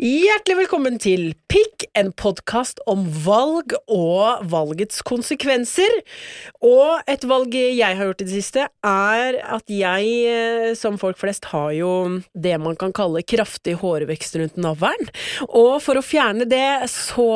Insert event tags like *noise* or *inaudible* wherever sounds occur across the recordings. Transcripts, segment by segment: Hjertelig velkommen til Pikk, en podkast om valg og valgets konsekvenser. Og et valg jeg har gjort i det siste, er at jeg, eh, som folk flest, har jo det man kan kalle kraftig hårvekst rundt navlen. Og for å fjerne det, så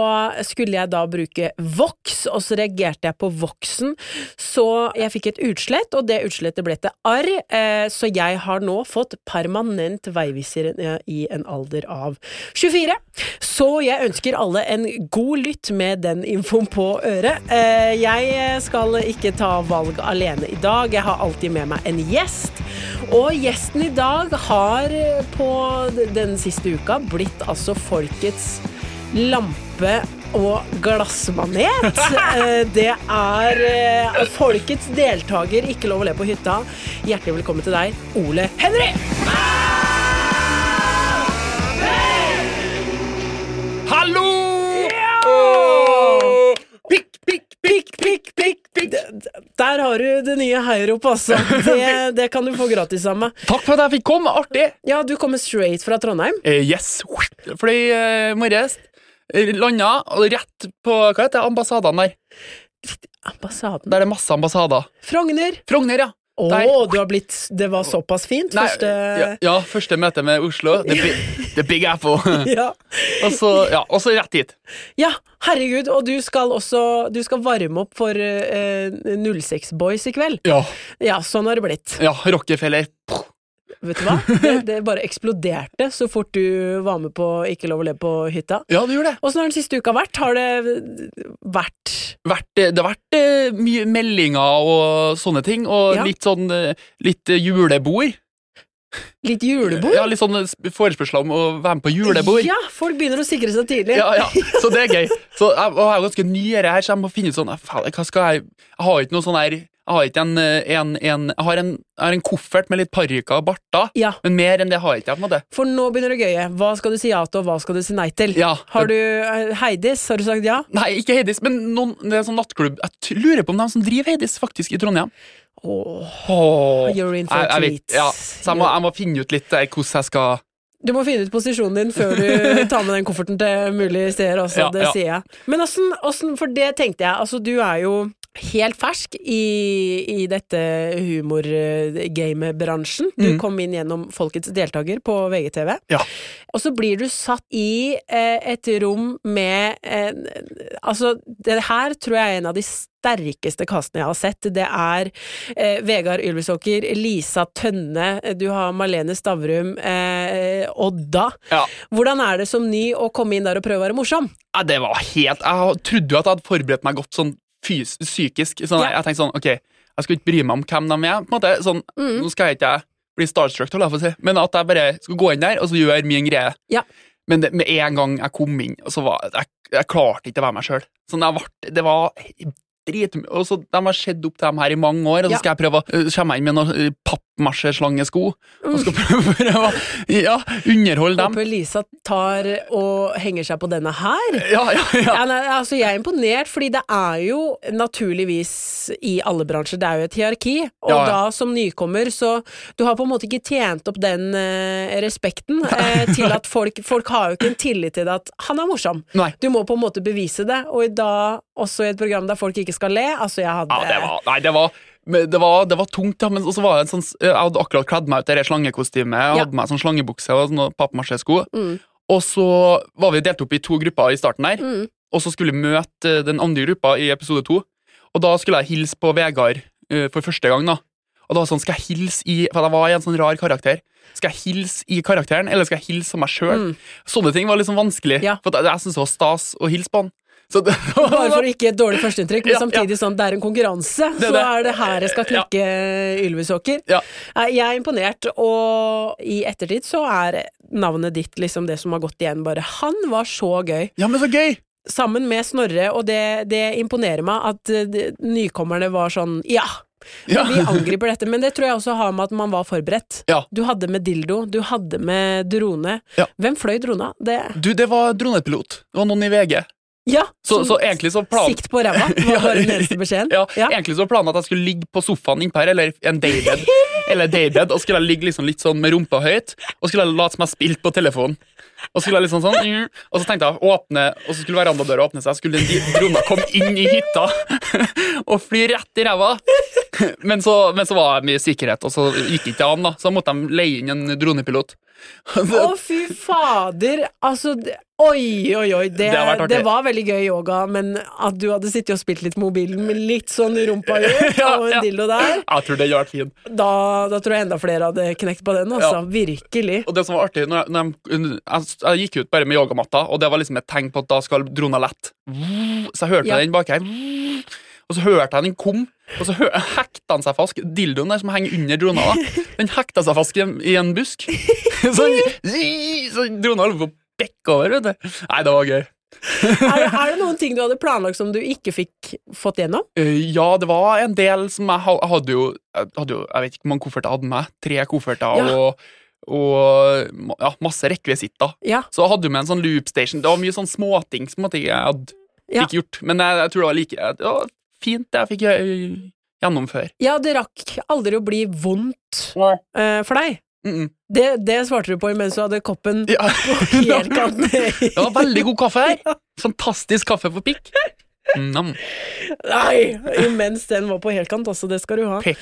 skulle jeg da bruke voks, og så reagerte jeg på voksen. Så jeg fikk et utslett, og det utslettet ble til arr, eh, så jeg har nå fått permanent veiviser eh, i en alder av 24. Så jeg ønsker alle en god lytt med den infoen på øret. Eh, Jeg skal ikke ta valg alene i dag. Jeg har alltid med meg en gjest. Og gjesten i dag har eh, på d- den siste uka blitt altså folkets lampe og glassmanet. Eh, Det er eh, folkets deltaker, ikke lov å le på hytta. Hjertelig velkommen til deg, Ole Henry! Hallo! Pikk, pikk, pikk, pikk, pikk, pikk. D- d- Der har du det nye heiropet, *laughs* altså. Det, det kan du få gratis av meg. Takk for at jeg fikk komme. Artig. Ja, du kommer straight fra Trondheim. Eh, yes. Fordi eh, morges eh, landa og rett på hva heter det, ambassadene der. Ambassaden. Der er det masse ambassader. Frogner. Frogner, ja. Å, Der. du har blitt Det var såpass fint? Nei, Første ja, ja, første møte med Oslo. The big, the big FO. *laughs* ja. og, så, ja, og så rett hit. ja, herregud. Og du skal også Du skal varme opp for eh, 06 Boys i kveld. Ja. Ja, sånn har det blitt. ja Rockefeller. Vet du hva? Det, det bare eksploderte så fort du var med på Ikke lov å le på hytta. Ja, det gjorde det. Åssen har den siste uka vært? Har det vært Vært, eh, det har vært eh, mye meldinger og sånne ting, og Ja. litt sånn eh, litt eh, julebord. litt julebord? Ja, Litt sånn eh, sp- forespørsler om å være med på julebord. Ja, folk begynner å sikre seg tidlig. Ja, ja, så det er gøy. Så jeg, og jeg er ganske ny i det her, så jeg må finne ut sånn faen, Hva skal jeg Jeg har ikke noe sånn her Jeg har ikke en, eh, en, en, jeg har en, jeg har en koffert med litt parykker og barter, Ja, men mer enn det har jeg ikke. på en måte. For nå begynner det gøye. Hva skal du si ja til, og hva skal du si nei til? Ja. Har du eh, Heidis, har du sagt ja? Nei, ikke Heidis, men noen, det er en sånn nattklubb. Jeg t- lurer på om de som driver Heidis, faktisk, i Trondheim. Åh, Åh, you're in jeg, for a jeg vet, treat. ja, så jeg må, jeg må finne ut litt eh, hvordan jeg skal Du må finne ut posisjonen din før *laughs* du tar med den kofferten til mulige steder også, Ja, det ja. sier jeg. Men åssen, åssen- for det tenkte jeg, altså du er jo helt fersk i, i dette humorgamebransjen. Du Mm. kom inn gjennom Folkets deltaker på VGTV. Ja. Og så blir du satt i eh, et rom med eh, Altså, det her tror jeg er en av de sterkeste kastene jeg har sett. Det er eh, Vegard Ylvisåker, Lisa Tønne, eh, du har Malene Stavrum, eh, Odda. Ja. Hvordan er det som ny å komme inn der og prøve å være morsom? Ja, det var helt Jeg trodde jo at jeg hadde forberedt meg godt sånn fys psykisk. Sånn, Ja. Jeg tenkte sånn, ok, jeg skal ikke bry meg om hvem de er. på en måte, sånn, Mm. Nå skal jeg ikke bli starstruck, holdt jeg på å si, men at jeg bare skal gå inn der og så gjøre min greie. Ja. Men det, med en gang jeg kom inn, så var jeg, jeg klarte ikke å være meg sjøl. Sånn, jeg vart- det var dritmye og så De har sett opp til dem her i mange år, og så Ja. skal jeg prøve å øh, komme inn med noen øh, pappmasjeslangesko og Mm. skal prøve, prøve å ja, underholde dem. Håper Lisa tar og henger seg på denne her. Ja, ja, ja. Ja, nei, altså jeg er imponert, fordi det er jo naturligvis i alle bransjer, det er jo et hierarki. Og Ja, ja. da som nykommer, så du har på en måte ikke tjent opp den eh, respekten *laughs* eh, til at folk Folk har jo ikke en tillit til at han er morsom. Nei. Du må på en måte bevise det, og i dag også i et program der folk ikke skal le. Altså, jeg hadde Ja, det var, nei, det var, men det var, det var tungt, ja, men så var det en sånn, jeg hadde akkurat kledd meg ut i det slangekostymet, jeg Ja. hadde meg sånn slangebukse og sånn pappmasjesko, Mm. og så var vi delt opp i to grupper i starten der, Mm. og så skulle vi møte eh, den andre gruppa i episode to, og da skulle jeg hilse på Vegard eh, for første gang da, og da var det sånn, skal jeg hilse i, for jeg var i en sånn rar karakter, skal jeg hilse i karakteren, eller skal jeg hilse meg selv? Sånne ting var liksom vanskelig, Mm. Ja. for jeg, jeg synes det var stas å hilse på han. Så det *laughs* var, Bare for å ikke gi et dårlig førsteinntrykk, Ja, men ja. samtidig sånn det er en konkurranse, Det er så det. er det her jeg skal Ja. knekke Ylvisåker. Ja. Nei, Jeg er imponert, og i ettertid så er navnet ditt liksom det som har gått igjen, bare. Han var så gøy, ja, men så gøy! sammen med Snorre, og det, det imponerer meg at eh, de- nykommerne var sånn ja, Ja. vi angriper dette, men det tror jeg også har med at man var forberedt. Ja. Du hadde med dildo, du hadde med drone. Ja. Hvem fløy drona? Det Du, det var dronepilot. Det var noen i VG. Ja, Så, som så egentlig så planen Sikt på ræva, *laughs* Ja. var bare den eneste beskjeden. ja, Ja. egentlig så planen at jeg skulle ligge på sofaen innpå her, eller en daybed, eller daybed, og skulle jeg ligge liksom litt sånn med rumpa høyt, og skulle jeg late som jeg spilte på telefonen. Og skulle jeg liksom sånn, mm, og så tenkte jeg åpne, og så skulle verandadøra åpne seg, skulle den drona komme inn i hytta *laughs* og fly rett i ræva. Men så, men så var jeg mye sikkerhet, og så gikk ikke det an, da. Så måtte de leie inn en dronepilot. Å, *laughs* fy fader! Altså, det- oi, oi, oi. Det, Det har vært det, artig. var veldig gøy yoga, men at du hadde sittet og spilt litt mobilen med litt sånn rumpa ut *laughs* Ja, og en ja. dildo der, Jeg tror det hadde vært fint. da, da tror jeg enda flere hadde knekt på den, altså. Ja. Virkelig. Og det som var artig, når jeg, når jeg, jeg, jeg gikk ut bare med yogamatta, og det var liksom et tegn på at da skal drona lette. Så jeg hørte Ja. den bak her. Og så hørte jeg den kom, og så hø- hekta den seg fast. Dildoen der som henger under drona, da, den hekta seg fast i en, i en busk. *laughs* Så, den- *laughs* så drona holdt på å bekke over, vet du. Nei, det var gøy. Er, er det noen ting du hadde planlagt som du ikke fikk fått gjennom? Eh, ja, det var en del som jeg, ha- jeg hadde jo Jeg hadde jo, jeg vet ikke hvor mange kofferter jeg hadde med. Tre kofferter Ja. og, og ja, masse rekvisitter. Ja. Så hadde vi en sånn loopstation. Det var mye sånn småting som jeg hadde Ja. fikk gjort. Men jeg, jeg tror det var like det var fint, det jeg fikk gjø- gjennomføre. ja, det rakk aldri å bli vondt eh, for deg. Mm -mm. Det, det svarte du på imens du hadde koppen *laughs* Ja. *laughs* helt kant ned. Det var veldig god kaffe her. Fantastisk kaffe for pikk. Mm, Nam. Nei! Imens den var på helkant, altså. Det skal du ha. Eh, Pek.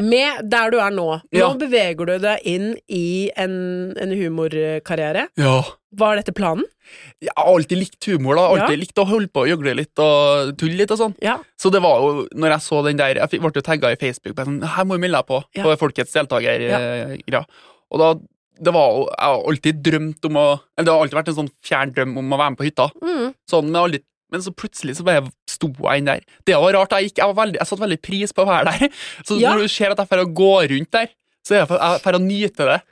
Med der du er nå. Nå Ja. beveger du deg inn i en, en humorkarriere. Ja. Var dette planen? Jeg har alltid likt humor. da Alltid likt å holde på å gjøgle litt og tulle litt. og sånn Ja. Så det var jo, når jeg så den der Jeg fikk- ble jo tagga i Facebook. På, sånn, her må jeg melde deg på Ja. på Folkets deltaker-greia. Og da det var jo, Jeg har alltid drømt om å Eller det har alltid vært en sånn fjern drøm om å være med på hytta. Mm. sånn, men, aldri, men så plutselig så bare sto jeg inn der. Det var rart, jeg, gikk, jeg, var veldig, jeg satt veldig pris på å være der. *laughs* Så Ja. når du ser at jeg får å gå rundt der, så er jeg for- jeg får å nyte det.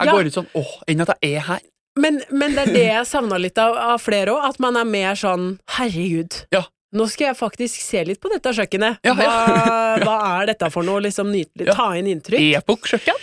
Jeg Ja. går ut sånn åh, enn at jeg er her. Men, men det er det jeg savna litt av, av flere òg, at man er mer sånn herregud. Ja. Nå skal jeg faktisk se litt på dette kjøkkenet. Ja, ja. Hva, hva er dette for noe? Liksom nyte litt, Ja. ta inn *laughs* inntrykk. Er på kjøkken?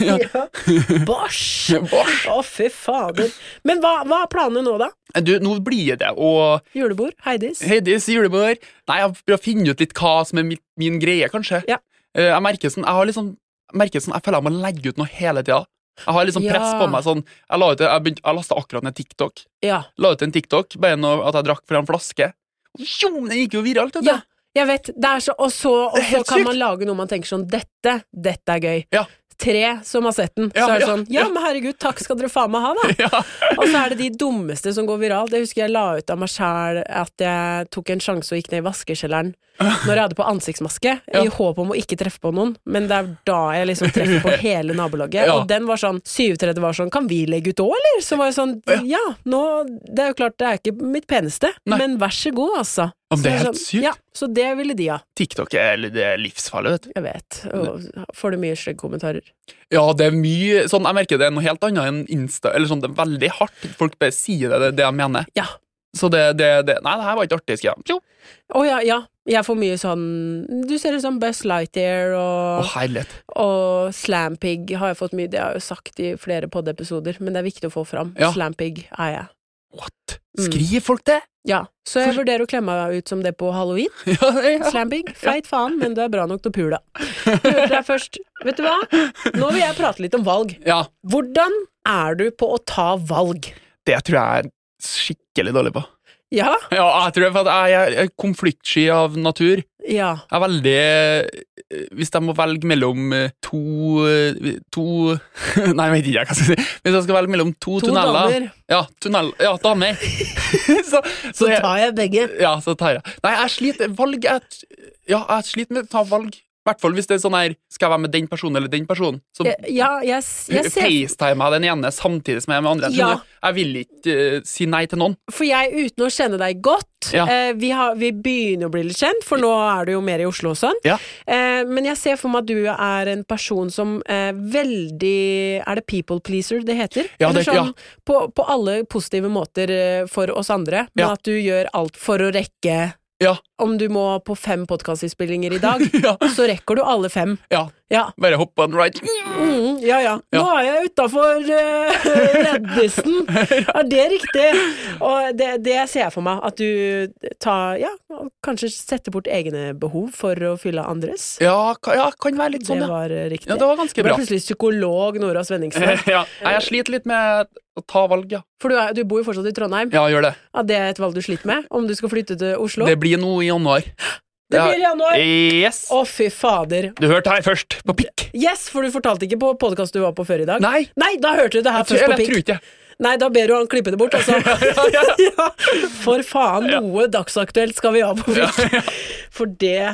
ja. Bosh! Bosh. Å, fy fader. Men hva, hva er planene nå, da? Du, nå blir det og Julebord? Heidis? Heidis julebord. Nei, jeg prøver å finne ut litt hva som er min, min greie, kanskje. Ja. Eh, Jeg merker sånn, jeg har liksom jeg merker sånn, jeg føler jeg må legge ut noe hele tida. Jeg har liksom Ja. press på meg sånn. Jeg, la ut, jeg, begynte, jeg lasta akkurat ned TikTok. Ja. la ut en TikTok bare noe at jeg drakk fra en flaske. Jo, men det gikk jo viralt, vet du. Ja, jeg vet. Det er så, og så, og Det er så helt kan sykt. man lage noe man tenker sånn Dette, dette er gøy. Ja. Tre som har sett den. Ja, så er det ja, sånn Ja, ja. men herregud, takk skal dere faen meg ha, da. Ja. *laughs* Og så er det de dummeste som går viralt. Jeg husker jeg la ut av meg sjæl at jeg tok en sjanse og gikk ned i vaskekjelleren når jeg hadde på ansiktsmaske, Ja. i håp om å ikke treffe på noen. Men det er da jeg liksom treffer på hele nabolaget. Ja. Og den var sånn 37 var sånn Kan vi legge ut òg, eller? Så var jeg sånn Ja, nå Det er jo klart, det er ikke mitt peneste, Nei. men vær så god, altså. Ja, men det er Så helt sånn, sykt. Ja, så det ville de ha. TikTok er, det er livsfarlig, vet du. Jeg vet. Og får du mye stygge kommentarer? Ja, det er mye sånn, Jeg merker det er noe helt annet enn Insta. Eller sånn, Det er veldig hardt. Folk bare sier det, det, er det jeg mener. Ja. Så det, det, det Nei, det her var ikke artig, skrev de. Jo. Å ja, ja. Jeg får mye sånn Du ser ut som Buzz Lightyear Å, og herlighet. Og slampig har jeg fått mye, det har jeg jo sagt i flere poddepisoder, men det er viktig å få fram. Ja. Slampig er jeg. What? Mm. Skriver folk det? Ja, så jeg For- vurderer å klemme meg ut som det på halloween. *laughs* Ja, ja. Slampig, feit faen, men du er bra nok til å pule. Du hørte deg først. Vet du hva? Nå vil jeg prate litt om valg. ja. Hvordan er du på å ta valg? Det tror jeg er skikkelig dårlig på. Ja, Ja, jeg tror det, for at jeg er konfliktsky av natur. ja, Jeg er veldig eh, Hvis jeg må velge mellom eh, to eh, To *laughs* Nei, jeg vet ikke hva jeg skal si. Hvis jeg skal velge mellom to, To tunneler damer. Ja, tunnel, ja damer. så, så, så jeg, tar jeg begge. ja, så tar jeg. Nei, jeg sliter valg jeg, Ja, jeg sliter med å ta valg. I hvert fall hvis det er sånn her Skal jeg være med den personen eller den personen? Så Jeg- Ja, jeg, s- jeg ser facetimer jeg den ene samtidig som jeg er med andre. Ja. Skjønner du? Jeg vil ikke eh, si nei til noen. For jeg, uten å kjenne deg godt Ja. eh, vi, har, vi begynner å bli litt kjent, for nå er du jo mer i Oslo og sånn. Ja. Eh, men jeg ser for meg at du er en person som eh, veldig Er det people pleaser det heter? Ja, det- Eller sånn ja. på, på alle positive måter eh, for oss andre, men Ja. at du gjør alt for å rekke Ja, om du må på fem podkastinnspillinger i dag, *laughs* ja, så rekker du alle fem. ja, Ja. bare hopp on right. Mm, ja, ja. Nå Ja. er jeg utafor *laughs* uh, *laughs* Reddisen. Er det riktig? Og det, det ser jeg for meg. At du tar Ja, og kanskje setter bort egne behov for å fylle andres. Ja, ka- ja, kan være litt sånn, det ja. var eh, riktig. Ja, det var ganske Du ble bra. Eh. plutselig psykolog Nora Svenningsen. her. ja. Nei, Jeg sliter litt med å ta valg, ja. For du, er, du bor jo fortsatt i Trondheim. Ja, gjør det. Ja, det er et valg du sliter med, om du skal flytte til Oslo. Det blir noe i januar. Det blir i januar! Yes! Å, fy fader. Du hørte her først, på pikk. Yes, for du fortalte ikke på podkast du var på før i dag. Nei, da hørte du det her jeg, først på jeg pikk. tror ikke det. Nei, da ber du han klippe det bort, altså. *laughs* ja, *laughs* ja, for faen, noe dagsaktuelt skal vi ha på fikk. For det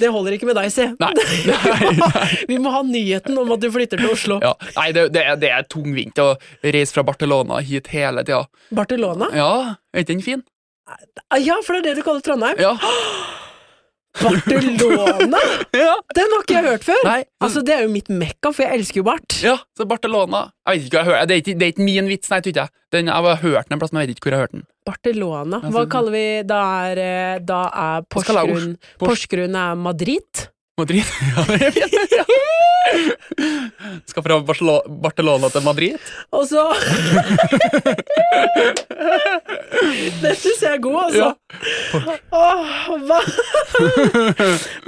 Det holder ikke med deg, se. Nei. Nei. *laughs* Vi må ha nyheten om at du flytter til Oslo. Ja. Nei, det, det, er- det er tungvint å reise fra Barcelona hit hele tida. Barcelona? Ja, er ikke den fin? Ah, Ja, for det er det du kaller Trondheim. Ja. Barcelona! *laughs* ja. Den har ikke jeg hørt før. Nei. Altså, Det er jo mitt mekka, for jeg elsker jo bart. Ja, så Barcelona Jeg vet ikke hva jeg hører. Det er ikke, det er ikke min vits, nei, tror ikke jeg. Den, jeg har hørt den en plass, men jeg vet ikke hvor jeg har hørt den. Barcelona. Ja, Hva så- kaller vi Da er, eh, da er Hva skal jeg ha? Porsgrunn Pors- Porsgrunn er Madrid. Madrid? *laughs* Ja, det er fint. Ja. Skal fra Barcelo- Barcelona til Madrid? Og så *laughs* Den syns jeg er god, altså. Ja. Åh, hva,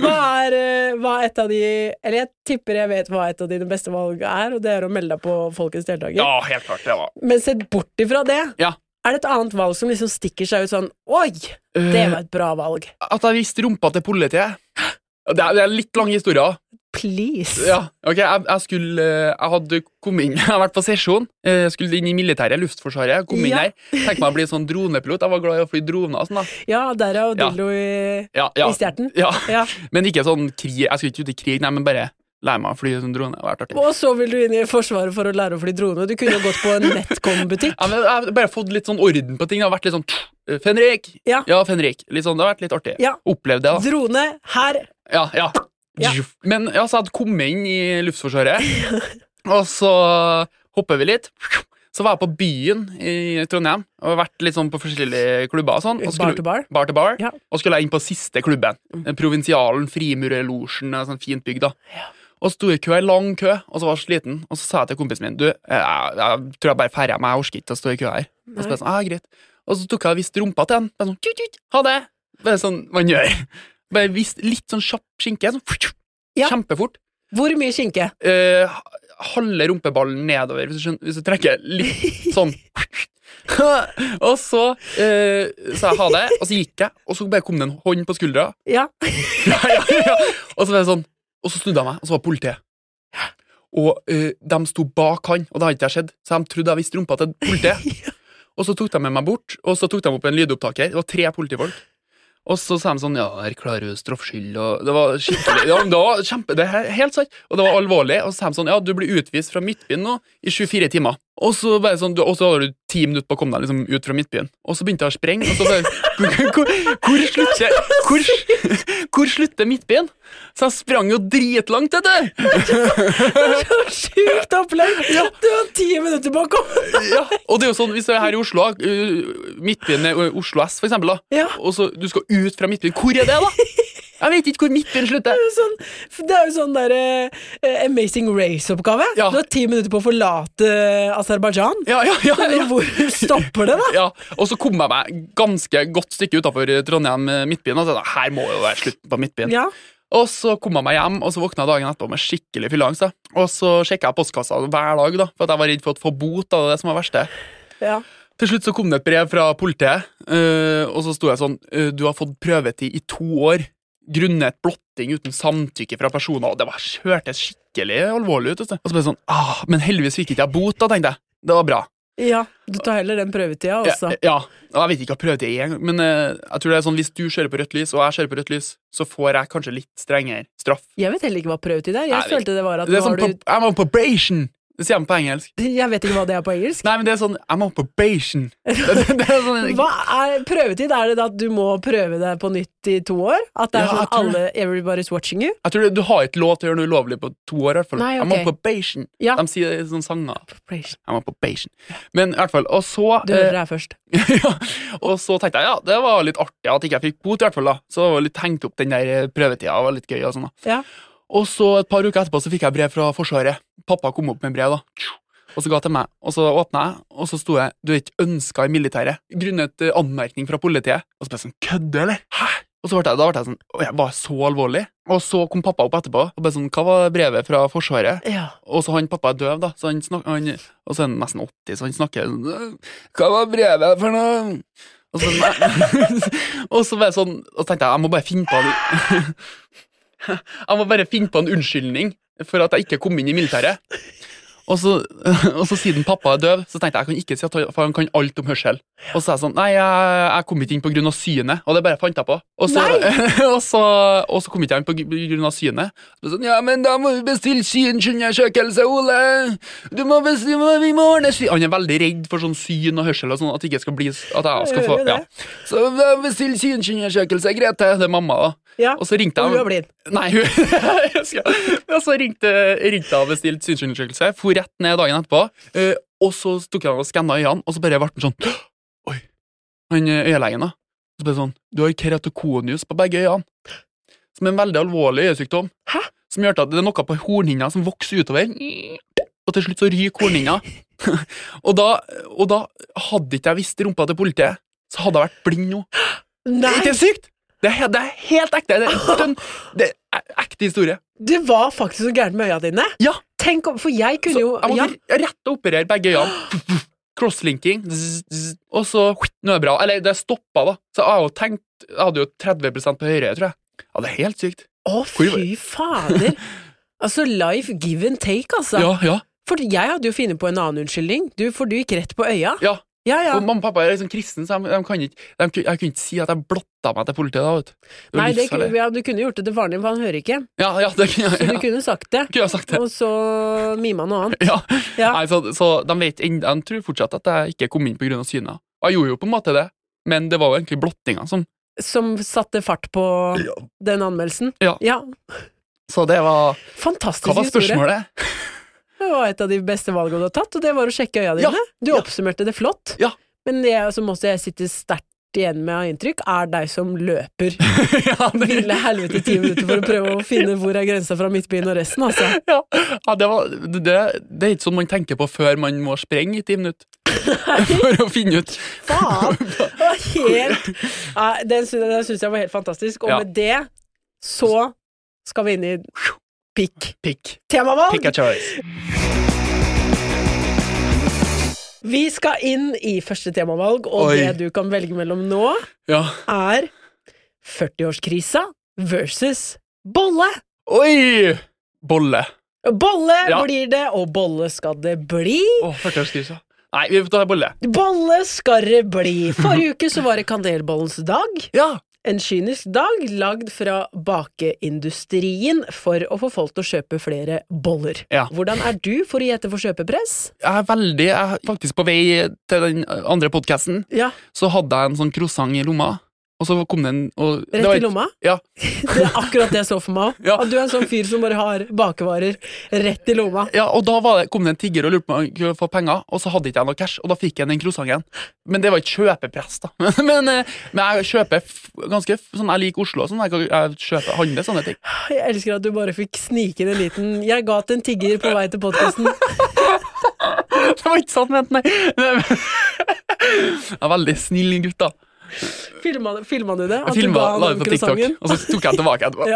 hva, *laughs* er, eh, hva er et av de Eller jeg tipper jeg vet hva et av dine beste valg er, og det er å melde deg på Folkets deltaker. Ja, helt klart. Det var Men sett bort ifra det, Ja. er det et annet valg som liksom stikker seg ut sånn Oi, det var et bra valg. Eh, At jeg viste rumpa til politiet. Det er, det er litt lang historie. også. Please. Ja, ok, jeg, jeg skulle eh, Jeg hadde kommet inn *laughs* Jeg har vært på sesjon eh, Skulle inn i militæret, luftforsvaret Kom inn Ja. her Tenkte meg å bli sånn dronepilot Jeg var glad i å fly droner og sånn da Ja, derav Ja. dildo i, ja, ja. i stjerten. *laughs* Ja, Ja. men ikke sånn krig Jeg skulle ikke ut i krig Nei, men bare Lære meg å fly sånn drone Det hadde vært artig Og så vil du inn i Forsvaret for å lære å fly drone. Du kunne jo *laughs* gått på en Netcom-butikk. ja, men Jeg har bare fått litt sånn orden på ting Det har vært litt sånn eh, Fenrik Ja. Ja, Fenrik Litt sånn, det har vært litt artig Ja. Opplevd det da Drone her. Ja, ja. Ja. Men ja, så jeg hadde kommet inn i *laughs* Luftforsvaret, og så hopper vi litt. Så var jeg på byen i Trondheim og vært litt sånn på forskjellige klubber. og sånn. Og Bar til bar. Bar til bar. Ja. Mm. Og skulle jeg inn på siste klubben. Provinsialen, Frimurerlosjen, en sånn fint bygg. da. Og sto i kø, i lang kø, og så var jeg sliten. Og så sa jeg til kompisen min du, jeg, jeg tror jeg bare ferder meg, jeg orker ikke å stå i kø her. Og så, ble jeg sånn, ah, greit. og så tok jeg og viste rumpa til han. Bare sånn, tut, tut, ha det! Bare sånn man gjør. Bare vist litt sånn kjapp skinke. Sånn, tut, tut, Ja. Kjempefort. Hvor mye skinke? Eh, halve rumpeballen nedover, hvis du, skjønner, hvis du trekker litt *laughs* sånn. og så eh, sa jeg ha det, og så gikk jeg, og så bare kom det en hånd på skuldra. Ja. *laughs* ja, ja, ja. Og så var det sånn Og så snudde jeg meg, og så var politiet. Og eh, de sto bak han, og det hadde ikke jeg sett, så de trodde jeg visste rumpa til *laughs* politiet. Og så tok de med meg bort, og så tok de opp en lydopptaker. Det var tre politifolk. Og så sa de sånn Ja, erklærer du straffskyld? Og det var skikkelig ja, men Det var kjempe Det er helt sant. Og det var alvorlig. Og så sa de sånn Ja, du blir utvist fra Midtbyen nå i 24 timer. Og så bare sånn, du- og så hadde du ti minutter på å komme deg liksom ut fra Midtbyen. Og så begynte jeg å sprenge, og så bare Hvor, hvor, hvor slutter hvor, hvor slutter Midtbyen? Så jeg sprang jo dritlangt, vet du! Sjukt opplegg! Du har ti minutter på å komme! Ja, og det er jo sånn, hvis du er her i Oslo, uh, Midtbyen er uh, Oslo S, for eksempel, da. Ja. og så du skal ut fra Midtbyen, hvor er det, da? Jeg vet ikke hvor Midtbyen slutter. Sånn, det er jo sånn der eh, Amazing Race-oppgave. Ja. Du har ti minutter på å forlate Aserbajdsjan. Ja, ja, ja, ja. Hvor stopper *laughs* det, da? Ja, Og så kom jeg meg ganske godt stykke utafor Trondheim eh, Midtbyen. Og så tenkte jeg, her må jo være slutten på Midtbyen. Ja. Og så kom jeg meg hjem, og så våkna jeg dagen etterpå med skikkelig fylleangst. da. Og så sjekka jeg postkassa hver dag, da, for at jeg var redd for å få bot. da, det er det som var verste. ja. Til slutt så kom det et brev fra politiet, eh, og så sto jeg sånn eh, Du har fått prøvetid i to år grunnet blotting uten samtykke fra personer. Og det var, hørtes skikkelig alvorlig ut. vet du. Og så ble det sånn ah, Men heldigvis fikk ikke jeg bot, da, tenkte jeg. Det var bra. Ja, du tar heller den prøvetida, altså. Ja, eh. ja. Og Jeg vet ikke hva prøvetid er engang, men eh, jeg tror det er sånn hvis du kjører på rødt lys, og jeg kjører på rødt lys, så får jeg kanskje litt strengere straff. Jeg vet heller ikke hva prøvetid er. Nei, Jeg jeg vet følte det var at Det er nå sånn, har du på, jeg var på probation! Det sier de på engelsk. *laughs* Jeg vet ikke hva det er på engelsk. Nei, men det er sånn I'm on *laughs* probation. Det, det, det er sånn, Hva er prøvetid? Er det da at du må prøve deg på nytt i to år? At det er Ja, jeg sånn tror det. alle Everybody's watching you? Jeg tror det- Du har ikke lov til å gjøre noe ulovlig på to år. i hvert fall Nei, I'm on ok. probation. Ja. De sier det i sånne sanger. Du I'm on probation. Men i hvert fall, og så hører eh, det her først. *laughs* ja, Og så tenkte jeg ja, det var litt artig at ikke jeg fikk bot, i hvert fall. da Så det var litt hengt opp den der eh, prøvetida. var litt gøy Og sånn da Ja. Og så et par uker etterpå så fikk jeg brev fra Forsvaret. Pappa kom opp med brev, da. Og så ga til meg, og så åpna jeg, og så sto jeg 'Du er ikke ønska i militæret' grunnet eh, anmerkning fra politiet. Og så ble jeg sånn 'Kødder, eller?' Hæ? Og så ble jeg, da ble jeg sånn «Å, jeg Var jeg så alvorlig? Og så kom pappa opp etterpå og bare sånn 'Hva var brevet fra Forsvaret?' ja. Og så han pappa er døv, da, så han snak, han, og så er han nesten 80, så han snakker sånn «Øh, Hva var brevet for noe? Og så, *laughs* og så bare sånn Og så tenkte jeg jeg må bare finne på en Jeg må bare finne på en unnskyldning for at jeg ikke kom inn i militæret. Og så, *laughs* og så siden pappa er døv, så tenkte jeg jeg kan ikke si at han, for han kan alt om hørsel. Og så er jeg sånn Nei, jeg, jeg kom ikke inn pga. synet, og det bare fant jeg på. Og så, *laughs* og så, og så kom ikke jeg inn pga. synet. Så sånn, ja, men da må vi bestille synsundersøkelse, Ole! Du må bestille, vi må ordne syn Han er veldig redd for sånn syn og hørsel og sånn, at det ikke skal bli At jeg skal få Hører det. ja. Så da bestill synsundersøkelse, Grete! Det er mamma, da. ja. Og så ringte Og jeg hun er blind. Nei, *laughs* hun jeg husker. Og så ringte, ringte jeg og bestilte synsundersøkelse. For rett ned dagen etterpå. eh, Og så tok jeg og skanna øynene, og så bare ble han sånn *gasps* Oi. Han eh, øyelegen, da. Så bare sånn Du har keratokonius på begge øynene. Som er en veldig alvorlig øyesykdom. Hæ? Som gjør at det er noe på hornhinna som vokser utover. Og til slutt så ryker hornhinna. og, da, og da hadde ikke jeg visst rumpa til politiet, så hadde jeg vært blind nå. Nei, Ikke det sykt? Det er, he- det er helt ekte. Det er, den, det er ekte historie. det var faktisk noe gærent med øya dine. Ja. Tenk om, For jeg Så kunne jo jeg ja. måtte rette og operere begge øynene. Crosslinking. zzz, zzz, Og så Nå er det bra. Eller, det stoppa, da. Så jeg, har jo tenkt, jeg hadde jo 30 på høyre, tror jeg. Ja, det er helt sykt. Å, Hvor- fy *laughs* fader. Altså, life give and take, altså. Ja, ja. For jeg hadde jo funnet på en annen unnskyldning. Du, for du gikk rett på øya. Ja. Ja, ja. Og mamma og pappa er liksom kristne, så de, de kan ikke, de, kunne- jeg kunne ikke si at jeg blotta meg til politiet. da, vet du. Det var Nei, det, livsfarlig. kunne- ja, du kunne gjort det til faren din, for han hører ikke. Ja, ja, det kunne Så du jeg, ja. kunne sagt det. kunne jeg sagt det. Og så mima noe annet. Ja. Ja. Nei, så, så de, vet, enda- de tror fortsatt at jeg ikke kom inn pga. synet. Og Jeg gjorde jo på en måte det, men det var jo egentlig blottinga som Som satte fart på den anmeldelsen. Ja. Så det var Fantastisk Hva var *laughs* historie. spørsmålet? Det var et av de beste valgene du har tatt, og det var å sjekke øya Ja, dine. Du ja. oppsummerte det flott, Ja. men det som også jeg sitter sterkt igjen med av inntrykk, er deg som løper *laughs* ja, det, ville helvete i ti minutter for å prøve å finne hvor er grensa fra Midtbyen og resten, altså. ja, ja, det, var, det, det er ikke sånn man tenker på før man må sprenge i ti minutter. *laughs* For å finne ut. Faen! Det var helt Nei, Den syns jeg, synes jeg var helt fantastisk, og Ja. med det så skal vi inn i pikk. Pick. Pick Temavalg! a choice. Vi skal inn i første temavalg, og Oi. det du kan velge mellom nå, Ja. er 40-årskrisa versus bolle. Oi! Bolle. Bolle Ja. blir det, og bolle skal det bli. Å, 40-årskrisa. Nei, vi får ta bolle. Bolle skal det bli. *laughs* Forrige uke så var det kanelbollens dag. Ja. En kynisk dag lagd fra bakeindustrien for å få folk til å kjøpe flere boller. Ja. Hvordan er du for å gjete for kjøpepress? Jeg er veldig Jeg er faktisk på vei til den andre podkasten. Ja, Så hadde jeg en sånn croissant i lomma, og så kom den og det Rett var i ikke- lomma? Ja. Det er akkurat det jeg så for meg òg. Ja. At du er en sånn fyr som bare har bakevarer rett i lomma. Ja, og da var det, kom det en tigger og lurte på om han kunne få penger, og så hadde ikke jeg noe cash, og da fikk jeg den croissanten. Men det var ikke kjøpepress, da. *laughs* Men, eh, men jeg kjøper f- ganske f- sånn, Jeg liker Oslo og sånn. Jeg, kan- jeg kjøper, handler sånne ting. *laughs* Jeg elsker at du bare fikk snike inn en liten Jeg ga til en tigger på vei til podkasten. Det var ikke sant ment, nei. Men- *laughs* Jeg er veldig snill gutt, da. Filma, filma du det? Jeg At du filma, la ga det den på TikTok, croissanten? og så tok jeg tilbake etterpå. *laughs* *laughs*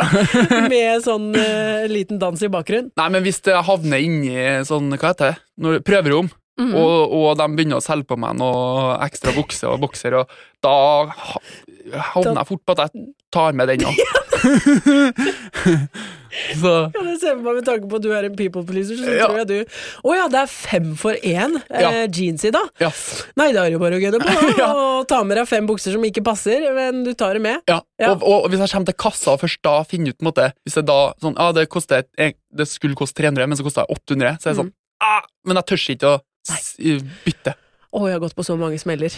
Ja, med sånn eh, liten dans i bakgrunnen. Nei, men hvis det havner inni sånn, hva heter det, når, prøverom, Mhm. og, og de begynner å selge på meg noe ekstra bukse og bokser, og da ha- havner jeg fort på at jeg tar med den, da. *laughs* Så Kan jeg se for meg Med tanke på at du er en people pleaser, så Ja. tror jeg du Å ja, det er fem for én eh, Ja. jeans i dag. ja. Nei, da er det jo bare å gønne på da, *laughs* Ja. og ta med deg fem bukser som ikke passer, men du tar det med. Ja. Ja. Og, og hvis jeg kommer til kassa og først da finner ut på en måte, Hvis jeg da sånn, ja, det, koster, et- det skulle koste 300, men så kosta det 800, så er det sånn Mhm. ah, men jeg tør ikke å s bytte. Å, jeg har gått på så mange smeller.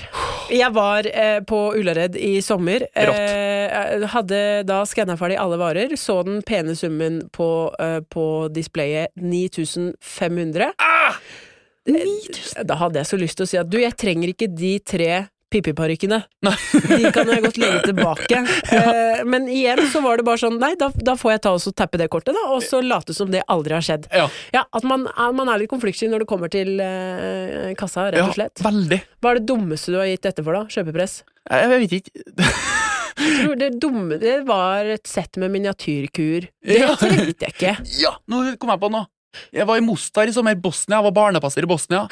Jeg var eh, på Ullared i sommer. Eh, hadde da skanna ferdig alle varer. Så den pene summen på, eh, på displayet 9500. Ah! Eh, Da hadde jeg så lyst til å si at du, jeg trenger ikke de tre Pippi-parykkene. *laughs* Nei. De kan jeg godt legge *laughs* tilbake. Eh, men igjen så var det bare sånn, nei, da, da får jeg ta og så tappe det kortet, da, og så late som det aldri har skjedd. Ja, Ja, At man, er- man er litt konfliktsky når det kommer til eh, kassa, rett ja, og slett. veldig. Hva er det dummeste du har gitt etter for, da? Kjøpepress? Jeg, jeg vet ikke. Jeg tror det dumme Det var et sett med miniatyrkur. Det Ja. trengte jeg ikke. Ja, nå kom jeg på noe. Jeg var i Mostar i sommer, Bosnia. Jeg var barnepasser i Bosnia.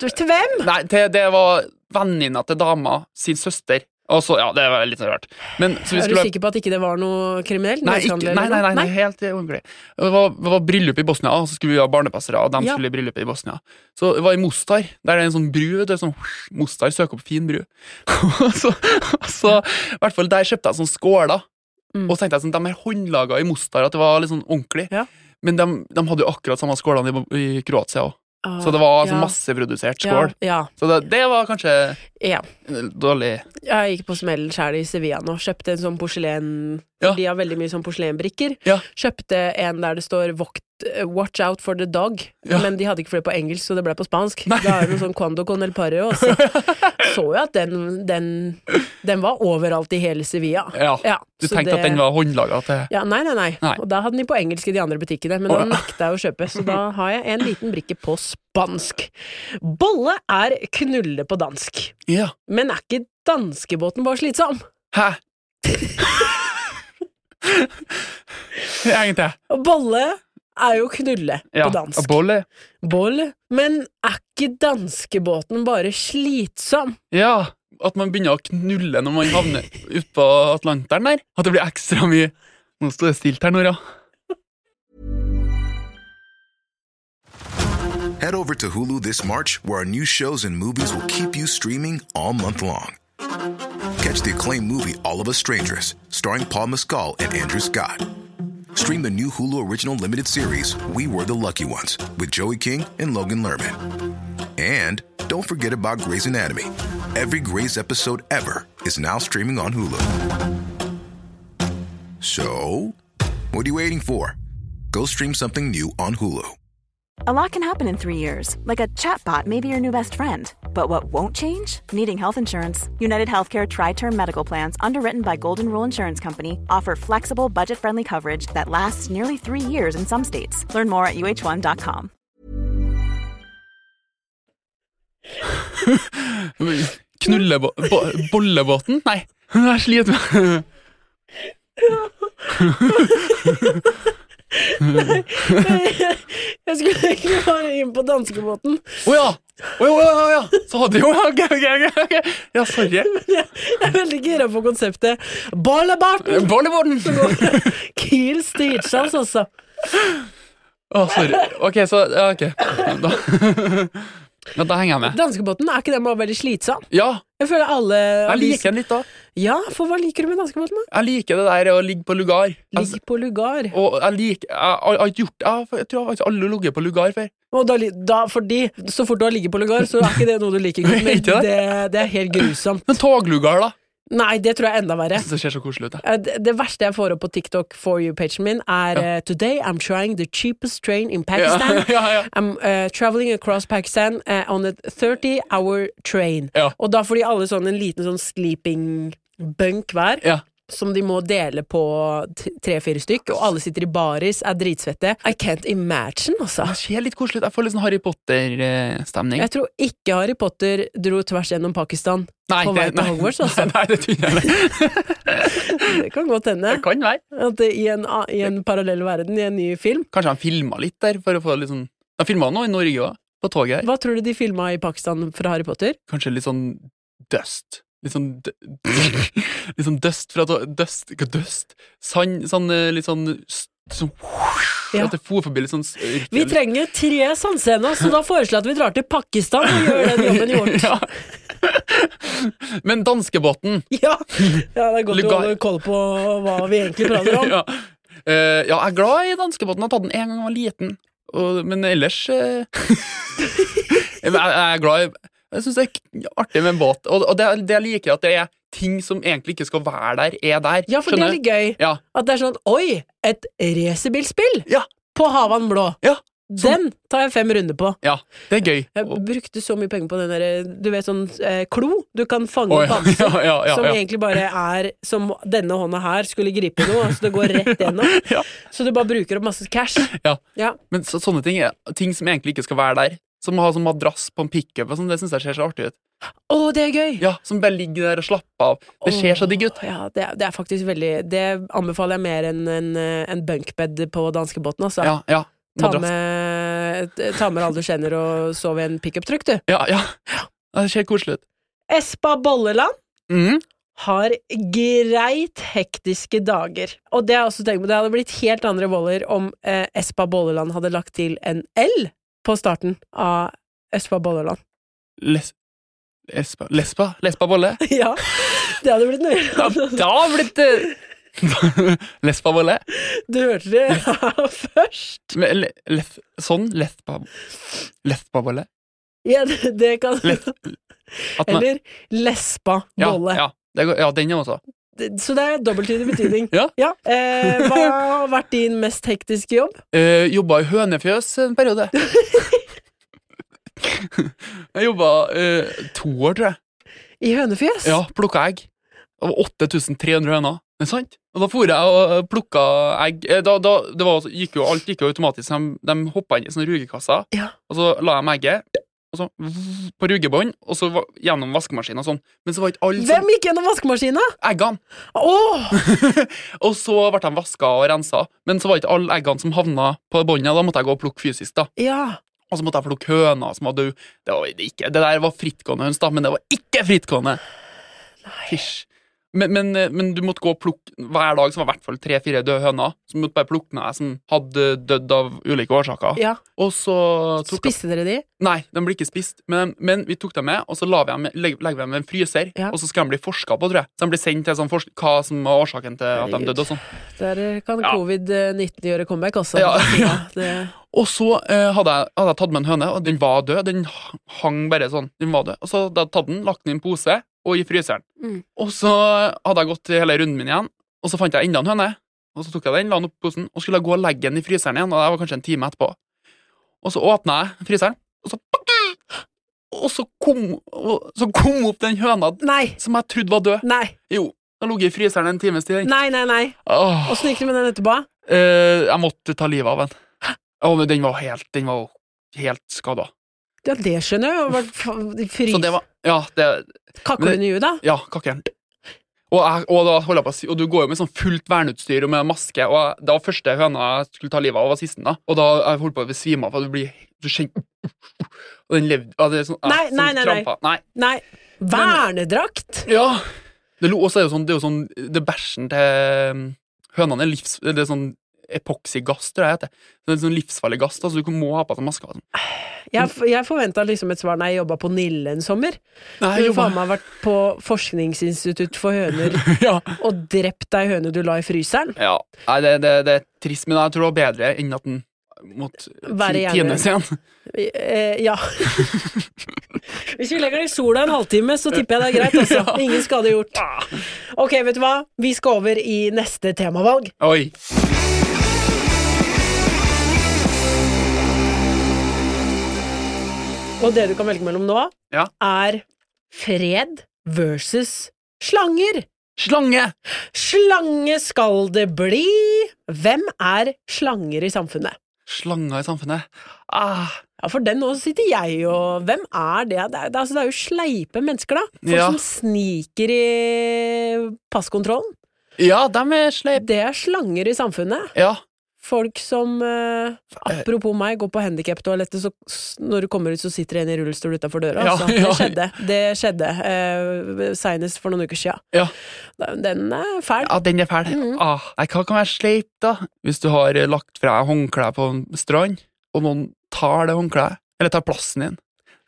Du, Til hvem? Nei, det, det var venninna til dama sin søster. Og så, ja, det var litt sånn rart. Men, så vi Er du skulle sikker på at ikke det var noe kriminelt? Nei, ikke, menneskehandel nei, nei, eller nei, noe? nei, helt eh, ordentlig. Det var, det var bryllup i Bosnia, og så skulle vi ha barnepassere, og de Ja. skulle i bryllup i Bosnia. Så det var i Mostar, der det er en sånn bru, vet du, sånn Mostar, søk opp fin bru. *laughs* Og så, og så, i hvert fall der kjøpte jeg sånn skåler, Mm. og så tenkte jeg sånn, de er håndlaget i Mostar, at det var litt sånn ordentlig. Ja. Men de, de hadde jo akkurat samme skålene i, Bo- i Kroatia også. Ah, Så det var ja. sånn masseprodusert skål. Ja, Så det, det var kanskje ja. ja. eh, dårlig. Jeg gikk på smellen sjæl i Sevilla nå. Kjøpte en sånn porselen Ja. De har veldig mye sånn porselenbrikker. Ja. Kjøpte en der det står vokt, eh, 'Watch out for the dog', Ja. men de hadde ikke flere på engelsk, så det ble på spansk. Nei. Da er det noe sånn 'Cuando con el pareo'. Så *laughs* så jo at den, den, den var overalt i hele Sevilla. Ja, Ja, du så tenkte at det- den var håndlaget til... ja, nei, nei, nei, Nei. Og da hadde den på engelsk i de andre butikkene, men Å, ja. da nekta jeg å kjøpe, så *laughs* da har jeg en liten brikke på spansk. Bolle er knulle på dansk, Ja. men er ikke danskebåten bare slitsom? Hæ? Egentlig. Og Bolle er jo knulle på dansk. Bolle. Bolle. Men er ikke danskebåten bare slitsom? Ja. At man begynner å knulle når man havner utpå Atlanteren der. At det blir ekstra mye Nå står det stilt her, Nora. Head over to Hulu this March, where our new shows and movies will keep you streaming all month long. Catch the acclaimed movie All of Us Strangers, starring Paul Mescal and Andrew Scott. Stream the new Hulu original limited series We Were the Lucky Ones with Joey King and Logan Lerman. And don't forget about Grey's Anatomy. Every Grey's episode ever is now streaming on Hulu. So, what are you waiting for? Go stream something new on Hulu. A lot can happen in three years, like a chatbot may be your new best friend. But what won't change? Needing health insurance. United Healthcare Tri Term Medical Plans, underwritten by Golden Rule Insurance Company, offer flexible, budget friendly coverage that lasts nearly three years in some states. Learn more at uh1.com. Knullebo... Bo bollebåten? Nei. Jeg sliter med Jeg skulle egentlig bare inn på danskebåten. Å ja! Å ja, å ja, å ja! Så hadde jo Ok, ok, ok. ok. Ja, sorry. Jeg er veldig gira på konseptet. *laughs* Bollebarten! Bollebåten! Kiel Steedsans, altså. Å, sorry. Ok, så Ja, ok. Da, ja, da henger jeg med. Danskebåten, er ikke den bare veldig slitsom? Ja, Jeg føler alle jeg liker den litt, da. Ja, for hva liker du med danskebåten, da? Jeg liker det der å ligge på lugar. Altså, Ligg på lugar. og jeg liker Jeg har ikke gjort jeg, har- jeg tror jeg faktisk aldri har ligget på lugar før. Og da, li- da, fordi så fort du har ligget på lugar, så er ikke det noe du liker. godt, Men *laughs* Ikke det? det, det er helt grusomt. Men Sånn toglugar, da. Nei, det tror jeg er enda verre. Jeg synes det ser så koselig ut. jeg. Eh, Det det verste jeg får opp på TikTok for you-pagen min, er eh, Today I'm trying the cheapest train in Pakistan. Ja, *laughs* ja, ja. I'm eh, traveling across Pakistan eh, on a 30-hour train. Ja. Og da får de alle sånn en liten sånn sleeping-bunk hver. Ja. som de må dele på tre-fire stykk, og alle sitter i baris, er dritsvette. I can't imagine, altså. Det ser litt koselig ut. Jeg får litt sånn Harry Potter-stemning. Jeg tror ikke Harry Potter dro tvers gjennom Pakistan. Nei, på vei det- til nei. Hogwarts, altså. *laughs* Nei, det tror jeg ikke. Det *laughs* kan godt hende. Det kan være. At det, i, en, a- I en parallell verden, i en ny film. Kanskje han filma litt der. for å få litt sånn... Han filma noe i Norge òg, på toget her. Hva tror du de filma i Pakistan fra Harry Potter? Kanskje litt sånn dust. Litt sånn d- *laughs* Litt sånn dust fra to- Dust? Hva dust? Sand? Sånn eh, litt sånn s- Sånn Ja. At det for forbi litt sånn s- Vi trenger tre sanseender, så da foreslår jeg at vi drar til Pakistan og gjør den jobben gjort. *laughs* Ja. Men danskebåten Ja, ja det er godt Lugar. å holde koll på hva vi egentlig prater om. *laughs* ja. Eh, ja, jeg er glad i danskebåten. Jeg har tatt den en gang jeg var liten. Og, men ellers *laughs* eh, jeg, jeg er glad i Jeg syns det er k- artig med en båt. Og, og det, det jeg liker, at det er ting som egentlig ikke skal være der, er der. Ja, for det er Skjønner litt gøy. du? Ja, At det er sånn Oi, et racerbilspill Ja. på Havan blå. ja, Den tar jeg fem runder på. ja, det er gøy. Jeg Og- brukte så mye penger på den der, du vet sånn eh, klo du kan fange Å, opp ja, bamse, *laughs* ja, ja, ja, som ja. egentlig bare er som denne hånda her skulle gripe noe, så det går rett gjennom. *laughs* Ja. Så du bare bruker opp masse cash. Ja. Ja. Men så, sånne ting er ting som egentlig ikke skal være der. Som å ha sånn madrass på en pickup. og sånn, Det syns jeg ser så artig ut. Å, det er gøy! Ja, Som bare ligger der og slapper av. Det ser så digg ut. Åh, Ja, det er, det er faktisk veldig Det anbefaler jeg mer enn en, eh, en bunkbed på danskebåten, altså. Ja, ja. ta, Madrass. med, ta med alle du kjenner og sov i en pickuptruck, du. Ja, ja. Ja, Det ser koselig ut. Espa Bolleland Mm. har greit hektiske dager. Og det, har jeg også tenkt på, det hadde blitt helt andre boller om eh, Espa Bolleland hadde lagt til en L på starten av Espa Bolleland. *laughs* Les lesba Lesba? Lesba *laughs* bolle? ja, det hadde blitt *laughs* Da, nøye. da har det blitt eh, *laughs* Lesba bolle? Du hørte det *laughs* her først. Men le- lef- Sånn? Lesba Lesba bolle? Ja, det, det kan Lef, at man- Eller lespa ja, bolle. ja, det går- ja, den er også. Det- Så det er dobbelttydig betydning. *laughs* Ja. Eh, hva har vært din mest hektiske jobb? Uh, jobba i hønefjøs en *laughs* periode. jeg jobba eh, to år, tror jeg. I hønefjes? Ja, Plukka egg. Det var 8300 høner. Det er sant. Og da for jeg og plukka egg. Eh, Da, da, det var, gikk jo, alt gikk jo automatisk. så De, de hoppa inn i sånne rugekasser, Ja. og så la de egget og så, vv, på rugebånd, og så va- gjennom vaskemaskinen og sånn. Men så var ikke alle Hvem gikk gjennom vaskemaskina? som- eggene. *laughs* Åh! og så ble de vaska og rensa, men så var ikke alle eggene som havna på båndet. Da måtte jeg gå og plukke fysisk, da. Ja. Og så måtte jeg plukke høna som var død. Det, var ikke, det der var frittgående høns, da, men det var ikke frittgående! Hysj. Men, men, eh, men du måtte gå og plukke hver dag, som var i hvert fall tre-fire døde høner. Så du måtte bare plukke med deg som hadde dødd av ulike årsaker. ja. Og så tok Spiste dere de? Nei, de ble ikke spist, men, men vi tok dem med, og så la vi dem, legger, legger vi dem i en fryser, Ja. og så skal de bli forska på, tror jeg. Så de blir sendt til sånn forsk hva som var årsaken til at de Herregud. døde og sånn. Der eh, kan Ja. covid-19 gjøre comeback, altså. Ja, *laughs* ja. Det, Og så eh, hadde, jeg, hadde jeg tatt med en høne, og den var død. Den h- hang bare sånn. Den var død. Og så hadde jeg tatt den, lagt den i en pose og i fryseren. Mm. Og så hadde jeg gått hele runden min igjen, og så fant jeg enda en høne. Og så tok jeg den, la den opp i posen, og skulle gå og legge den i fryseren igjen. Og det var kanskje en time etterpå. Og så åpna jeg fryseren, og så Og så kom, og, så kom opp den høna nei, som jeg trodde var død. nei, Jo, den lå i fryseren en times tid. den. nei, nei. nei. Åh. Åssen gikk det med den etterpå? Eh, jeg måtte ta livet av den. Å, men den var helt, den var helt skada. Ja, det skjønner jeg. jo. Vært fa- Så Frys. det var Ja, det, Kakler hun i huet, da? ja kakkeren. Og, jeg, og, da holdt jeg på, å si- og du går jo med sånn fullt verneutstyr og med maske. Og jeg, det var første høna jeg skulle ta livet av, var sisten. da Og da jeg holdt på å besvime av, for du blir Du kjenner Og den levde ja, det er sånn, ja, Nei, nei, sånn nei, nei. krampa. nei. Nei. Vernedrakt? Ja! Det, lo- også er jo sånn, det er jo sånn Det er bæsjen til um, hønene er livs... Det er sånn epoksygass, tror jeg det heter. Det er en sånn livsfarlig gass, da, så du må ha på deg maske. og sånn. Jeg, f- jeg forventa liksom et svar da jeg jobba på Nille en sommer. Nei, Du jo, faen meg vært på forskningsinstitutt for høner *laughs* ja. og drept ei høne du la i fryseren. ja. Nei, det, det, det er trist, men jeg tror det var bedre enn at den måtte Være ti- gjerne. tines igjen. Eh, ja. Hvis vi legger det i sola en halvtime, så tipper jeg det er greit. Altså. Ingen skade gjort. Ok, vet du hva? Vi skal over i neste temavalg. *laughs* Oi. Og det du kan velge mellom nå, Ja. er fred versus slanger. Slange! Slange skal det bli! Hvem er slanger i samfunnet? Slanger i samfunnet. Ah, Ja, For den nå sitter jeg og Hvem er det? Det er, det er, altså, det er jo sleipe mennesker, da. Folk Ja. som sniker i passkontrollen. ja, dem er sleip. Det er slanger i samfunnet. Ja. Folk som eh, Apropos meg, går på handikaptoalettet, så s- når du kommer ut, så sitter det en i rullestol utafor døra. Ja, altså. *laughs* ja. Det skjedde. Det skjedde eh, Seinest for noen uker sia. Ja. Den er fæl. ja, den er fæl. Mhm. Ah, nei, hva kan være sleip, da? Hvis du har eh, lagt fra deg håndkleet på en strand, og noen tar det håndkleet, eller tar plassen din.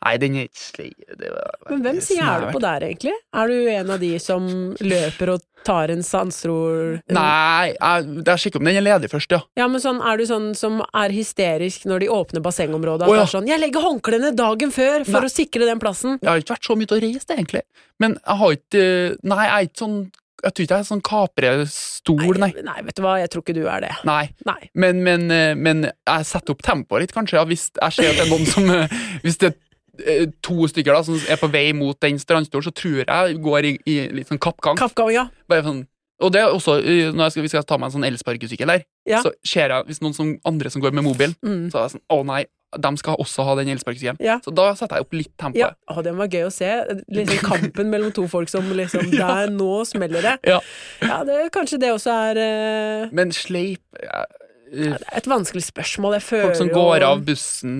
Nei, den er ikke slei. Det var- Men hvem sier er du på der, egentlig? Er du en av de som løper og tar en sandstol Nei, jeg, jeg sjekker om den er ledig først, ja. Ja, men sånn, Er du sånn som er hysterisk når de åpner bassengområdet? At Å, ja. det er sånn 'Jeg legger håndklærne dagen før for å sikre den plassen'. Jeg har ikke vært så mye til å reise, det, egentlig. Men jeg har ikke Nei, jeg er ikke sånn Jeg tror ikke jeg er sånn kaprestol, nei. Nei, vet du hva, jeg tror ikke du er det. Nei. Nei. Men, men, eh, men jeg setter opp tempoet litt, kanskje. Ja, hvis jeg ser at det er noen som eh, Hvis det er eh, to stykker da som er på vei mot den strandstolen, så tror jeg går i, i litt sånn kappgang. Kappgang, ja. Bare sånn og det er også, eh, når jeg skal, Hvis jeg skal ta meg en sånn elsparkesykkel der, Ja. Mm. så ser jeg hvis noen som, andre som går med mobilen, så er jeg sånn Å nei, de skal også ha den elsparkesykkelen. Ja. Så da setter jeg opp litt tempo. ja. Å, den var gøy å se. Liksom kampen mellom to folk som *laughs* liksom Der, nå smeller det. Ja. Ja, det, Kanskje det også er eh, Men sleip eh, eh, et vanskelig spørsmål. Jeg føler Folk som jo- går av bussen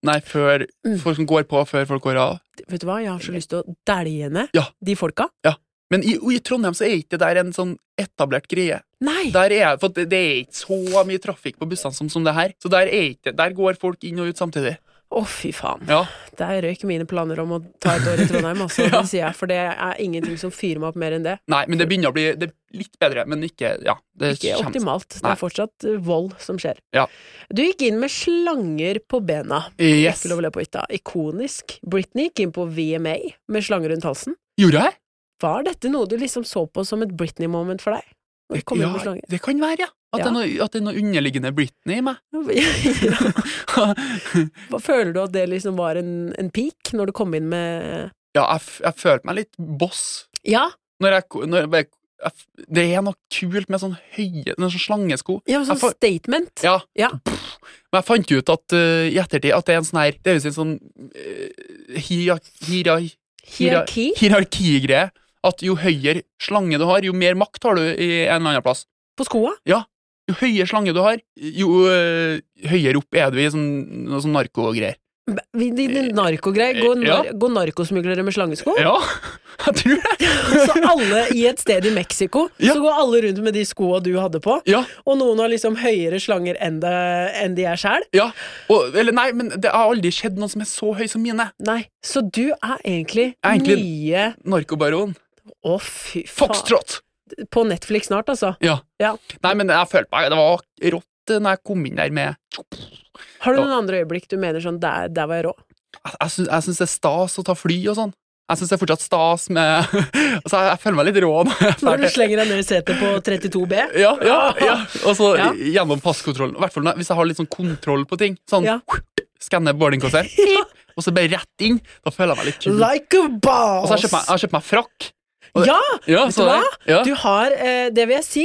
Nei, før Mm. Folk som går på før folk går av. Vet du hva, jeg har så lyst til å dælje henne, Ja. de folka. Men i, i Trondheim så er ikke det der en sånn etablert greie. Nei! Der er, for det, det er ikke så mye trafikk på bussene som, som det her. Så der, er ikke, der går folk inn og ut samtidig. Å, fy faen. Ja. Der røyk mine planer om å ta et år i Trondheim, *laughs* altså, det sier jeg, for det er ingenting som fyrer meg opp mer enn det. Nei, men det begynner å bli det er litt bedre. Men ikke Ja. Det Ikke kommer- optimalt. Det Nei. er fortsatt eh, vold som skjer. Ja. Du gikk inn med slanger på bena. Yes. Ikke lov å le på hytta. Ikonisk. Britney gikk inn på VMA med slanger rundt halsen. Gjorde jeg? Var dette noe du liksom så på som et Britney-moment for deg? Når du kom inn med Ja, slanger? det kan være, ja. At, Det er noe, at det er noe underliggende Britney i meg. *laughs* *laughs* Ja. Hva- Føler du at det liksom var en, en peak når du kom inn med ja, jeg, f- jeg følte meg litt boss Ja, når jeg, ko- når jeg, bare- jeg f- Det er noe kult med sånn høye med sånn slangesko. ja men sånn Jeg får- statement. Ja, Ja. Men jeg fant ut at eh, i ettertid at det er en sånn her Det er visst en sånn eh, hierar- hierar- hierar- Hierarki. hierarkigreie. At jo høyere slange du har, jo mer makt har du i en eller annen plass. På skoa. Jo høyere slange du har, jo eh, høyere opp er du i sånn, noe sånn narkogreier. Vi- de- de Narkogreier. Går, nar Eh, Ja. går narkosmuglere med slangesko? Ja, *laughs* jeg tror det. *laughs* Så alle i et sted i Mexico, *laughs* Ja. så går alle rundt med de skoa du hadde på, Ja, og noen har liksom høyere slanger enn, det, enn de er sjæl. ja. Og, eller nei, men det har aldri skjedd noen som er så høy som mine. Nei, så du er egentlig, Jeg er egentlig- nye Narkobaron. Å, fy faen. Foxtrot! På Netflix snart, altså. Ja. Ja. Nei, men jeg følte meg Det var rått eh, når jeg kom inn der med Har du noen andre øyeblikk du mener sånn der, der var jeg rå? Jeg, jeg syns- jeg syns det er stas å ta fly og sånn. Jeg syns det er fortsatt stas med *laughs* Altså, jeg, jeg føler meg litt rå når jeg Når du ferdig. slenger deg ned i setet på 32B? Ja, ja, ja. Og så *laughs* Ja. gjennom passkontrollen. I hvert fall når- hvis jeg har litt sånn kontroll på ting. Sånn Ja. *laughs* skanner boardingkortet, *laughs* Ja. og så bare rett inn. Da føler jeg meg litt kul. Like Og a så har jeg boss! kjøpt meg, jeg har kjøpt meg frakk. Og det- Ja! Ja, Vet du så hva? det- Ja. Du har, eh, det vil jeg si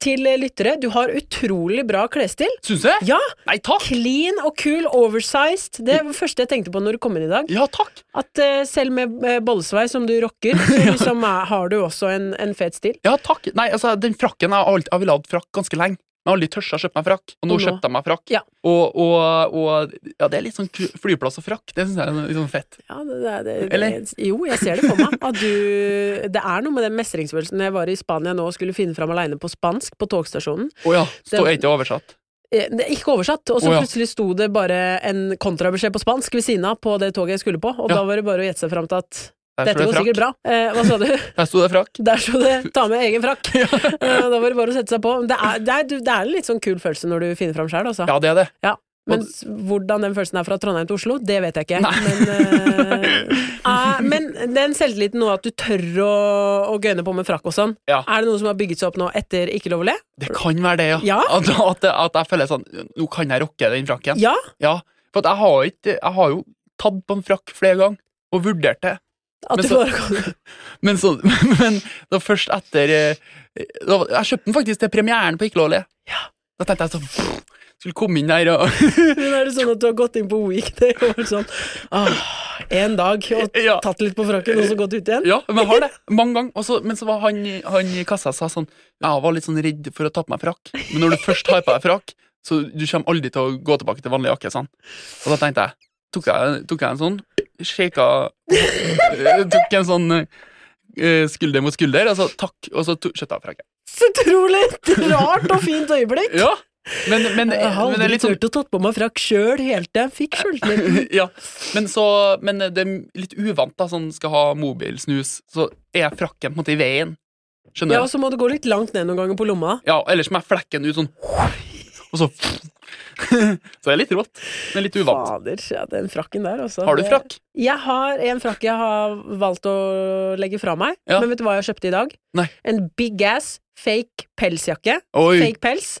til eh, lyttere, du har utrolig bra klesstil. Syns du det? Ja! Nei, takk! Clean og cool, oversized. Det var det første jeg tenkte på når du kom inn i dag. Ja, takk! At eh, selv med eh, bollesveis som du *laughs* rocker, så liksom er, har du også en, en fet stil. Ja, takk. Nei, altså, den frakken Jeg har aldri- jeg ville hatt frakk ganske lenge. Men jeg har aldri tørt å kjøpe meg frakk. Og nå Og nå- kjøpte jeg meg frakk. Ja. Og, og, og ja, det er litt sånn ku- flyplass og frakk. Det syns jeg er litt sånn fett. Ja, det, det, det, Eller? det- Jo, jeg ser det for meg. At du, det er noe med den mestringsfølelsen. Jeg var i Spania nå og skulle finne fram aleine på spansk på togstasjonen. Å ja. Stå er ikke oversatt. Eh, Det er ikke oversatt, og så Å, ja. plutselig sto det bare en kontrabeskjed på spansk ved siden av på det toget jeg skulle på, og Ja. da var det bare å gjette seg fram til at Der dette står går det sikkert frakk. bra. Eh, hva sa du? *laughs* Der sto det frakk. Der sto det 'ta med egen frakk'. Eh, da var det bare å sette seg på. Men Det er, det er, du- det er en litt sånn kul følelse når du finner fram sjøl, altså. Ja, det er det. Ja. Men s- hvordan den følelsen er fra Trondheim til Oslo, det vet jeg ikke. Nei. *laughs* Men, eh, eh, men den selvtilliten nå at du tør å, å gønne på med frakk og sånn, Ja. er det noe som har bygget seg opp nå etter Ikke lov å le? Det kan være det, ja. Ja. At, at, at jeg føler sånn Nå kan jeg rocke den frakken. Ja. For at jeg har, ikke, jeg har jo tatt på en frakk flere ganger, og vurdert det. At Men du så- bare kan Men, så, *laughs* men da først etter eh, da, Jeg kjøpte den faktisk til premieren på Ikke lov å le. Da tenkte jeg sånn Skulle komme inn *laughs* der og *laughs* Men er det sånn at du har gått inn på weekday og vært sånn ah, En dag og *laughs* Ja. tatt litt på frakken, og så gått ut igjen? Ja, men jeg har det. Mange ganger. Og så- men så var han, i- han i kassa sa sånn Jeg var litt sånn redd for å ta på meg frakk. Men når du først har på deg frakk, så du kommer aldri til å gå tilbake til vanlig jakke. Sånn. Og da tenkte jeg Tok jeg, tok jeg en sånn Shaka eh, Tok en sånn eh, skulder mot skulder, og så takk, og så to- skjøtta jeg frakken. Så utrolig rart og fint øyeblikk! Ja, Men, men, Jeg har men det aldri er litt sånn turt å tatt på meg frakk sjøl helt til jeg fikk sjøltilliten. *laughs* ja. men, så, men det er litt uvant, da, sånn skal ha mobilsnus, så er frakken på en måte i veien. Skjønner Ja, du? og så må det gå litt langt ned noen ganger på lomma. Ja, ellers må jeg flekke den ut sånn, og så *laughs* Så det er litt rått, men litt uvant. Fader, ja, den frakken der, altså. Har du Det- frakk? Jeg har en frakk jeg har valgt å legge fra meg. Ja. Men vet du hva jeg kjøpte i dag? Nei. En big ass fake pelsjakke. Oi, Fake pels.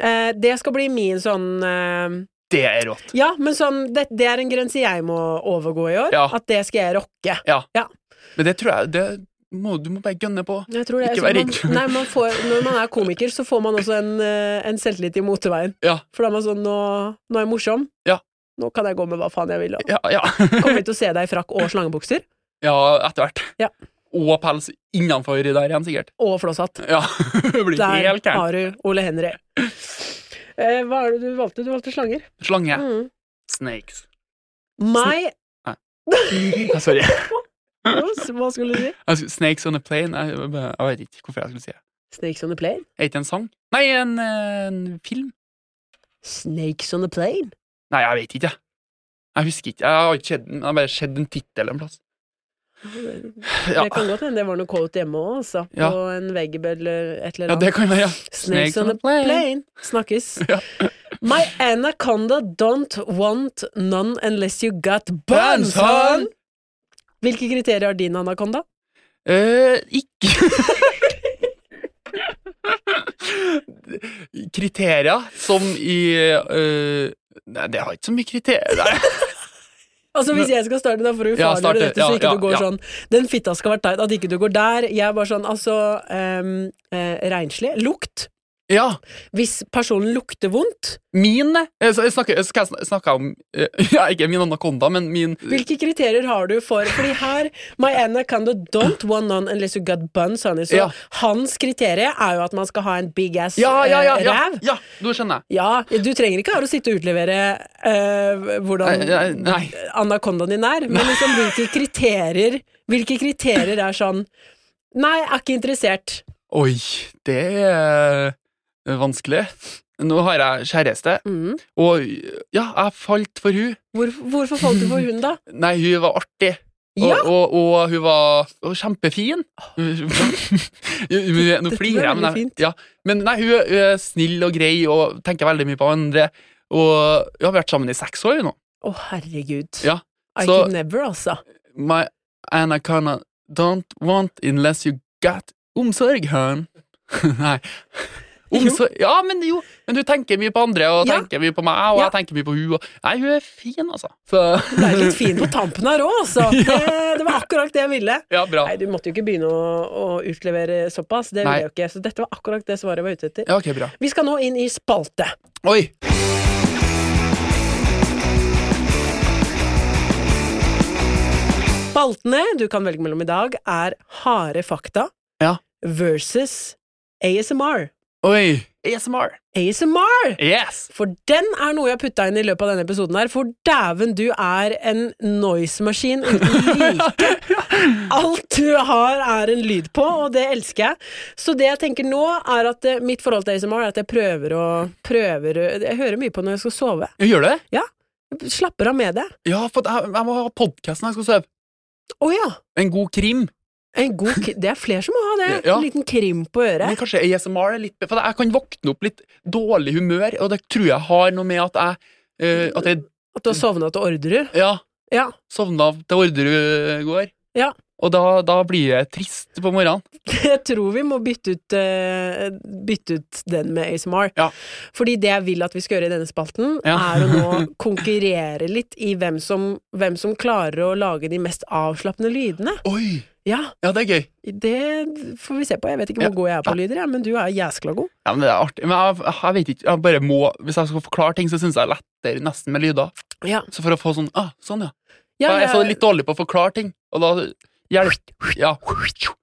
Eh, det skal bli min sånn eh, det er rått. Ja, men sånn det, det er en grense jeg må overgå i år. Ja. At det skal jeg rocke. Ja. Ja. Men det tror jeg det må, Du må bare gønne på. Jeg tror det, Ikke så vær man- redd. Nei, man får, når man er komiker, så får man også en, eh, en selvtillit i moteveien. Ja. For da er man sånn nå, nå er jeg morsom. Ja. Nå kan jeg gå med hva faen jeg vil. Og. Ja, *laughs* ja. Kommer vi til å se deg i frakk og slangebukser? ja etter hvert. Ja. Og pels innenfor der igjen, sikkert. Og flosshatt. Ja, *laughs* det blir Der helt gærent. har du Ole Henry. Eh, hva er det du valgte? Du valgte slanger. Slange. Mm. Snakes. My Ja, Sorry. Hva skulle du si? Jeg skulle- Snakes on a plane. Jeg, jeg vet ikke hvorfor jeg skulle si det. Snakes on a plane? Er ikke det en sang? Nei, en, eh, en film. Snakes on a plane? Nei, jeg vet ikke. jeg. Jeg husker ikke. Jeg har ikke sett den. Jeg har bare sett en tittel en plass. Ja. Det kan godt hende det var noe quote hjemme òg, altså. Ja. På en vegg eller et eller ja, annet. det kan være. ja. Snakes on a plane. Snakkes. My anaconda don't want none unless you got buns, hon! Hvilke kriterier har din anakonda? Eh, ikke *laughs* Kriterier som i eh, Nei, det har ikke så mye kriterier. Nei. Altså Hvis jeg skal starte, da, for å Ja, ufarliggjøre starte. dette, så Ja, ikke ja, du går ja. sånn Den fitta skal være teit, at ikke du går der. Jeg er bare sånn, altså ehm, eh, Renslig. Lukt. Ja, Hvis personen lukter vondt, min eh, så jeg snakker, Skal jeg sn- snakke om eh, *laughs* ja, Ikke min anakonda, men min hvilke kriterier har du for Fordi her My anaconda don't want none unless you got buns, honey. Så Ja. hans kriterium er jo at man skal ha en big ass Ja, ja, ja! eh, ja, ræv. ja Nå skjønner jeg. Ja, du trenger ikke her å sitte og utlevere eh, hvordan Nei, nei, nei. anakondaen din er, men liksom hvilke kriterier Hvilke kriterier er sånn Nei, er ikke interessert. Oi, det er vanskelig. Nå har jeg kjæreste, Mm. og ja, jeg falt for hun. Hvor, hvorfor falt du for hun, da? Nei, hun var artig. Og, Ja. og, og hun var og kjempefin. Hun- hun- Nå Dette flirer jeg, var men, jeg, veldig fint. ja. men nei, hun, er- hun er snill og grei og tenker veldig mye på andre. Og hun har vært sammen i seks år nå. Å, herregud. Ja, I så- could never, altså. My anaconda don't want unless you got omsorg, hun. *laughs* nei. Omsorg. Ja, men jo. Men hun tenker mye på andre, og Ja. tenker mye på meg, og Ja. jeg tenker mye på hun. og- Nei, hun er fin, altså. Så, *laughs* Det er litt fin på tampen her òg, altså. Det, det var akkurat det jeg ville. ja, bra. Nei, du måtte jo ikke begynne å, å utlevere såpass. Det ville Nei. jeg jo ikke. Så dette var akkurat det svaret jeg var ute etter. Ja, ok, bra. Vi skal nå inn i spalte. Oi! Spaltene du kan velge mellom i dag, er harde fakta Ja. versus ASMR. Oi! ASMR. ASMR! Yes! *laughs* For den er noe jeg putta inn i løpet av denne episoden her, for dæven, du er en noise-maskin *laughs* uten like. Alt du har, er en lyd på, og det elsker jeg. Så det jeg tenker nå, er at eh, mitt forhold til ASMR er at jeg prøver å prøver, å- Jeg hører mye på når jeg skal sove. Gjør du det? Jeg Slapper av med det. Ja, for jeg, jeg må ha podkasten jeg skal sove. Å ja! En god krim. En god, k- det er flere som må ha det. Ja. En liten krim på øret. Men kanskje ASMR er litt For jeg kan våkne opp litt dårlig humør, og det tror jeg har noe med at jeg eh, At jeg At du har sovna til ordrer? ja, Ja. sovna til Orderud i går. Ja. *laughs* Og da, da blir jeg trist på morgenen. Jeg tror vi må bytte ut, eh, bytte ut den med ASMR. Ja. Fordi det jeg vil at vi skal gjøre i denne spalten, Ja. er å nå *laughs* konkurrere litt i hvem som, hvem som klarer å lage de mest avslappende lydene. Oi! Ja, Ja, det er gøy. det får vi se på. Jeg vet ikke Ja. hvor god jeg er på lyder, jeg, men du er jæskla god. Ja, men det er artig. Men jeg, jeg vet ikke, jeg bare må Hvis jeg skal forklare ting, så syns jeg lettere nesten med lyder. Ja. Så for å få sånn ah, Sånn, ja. Ja, jeg er så litt dårlig på å forklare ting, og da hjelper ja.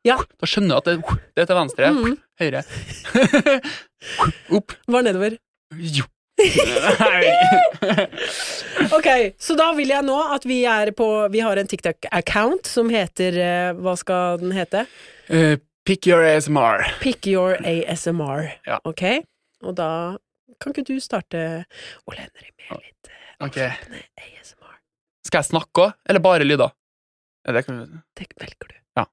Ja. Da skjønner jeg at det, det er til venstre, Mm. høyre *laughs* Opp Var nedover. jo. Nei. Ok, så da vil jeg nå at vi er på Vi har en TikTok-account som heter eh, Hva skal den hete? Eh, Pick your ASMR. Pick your ASMR. Ja. Ok? Og da Kan ikke du starte, Ole Henry, med litt eh, Ok. avslappende ASMR? Skal jeg snakke òg, eller bare lyder? Ja, det kan vi... Det velger du. Ja.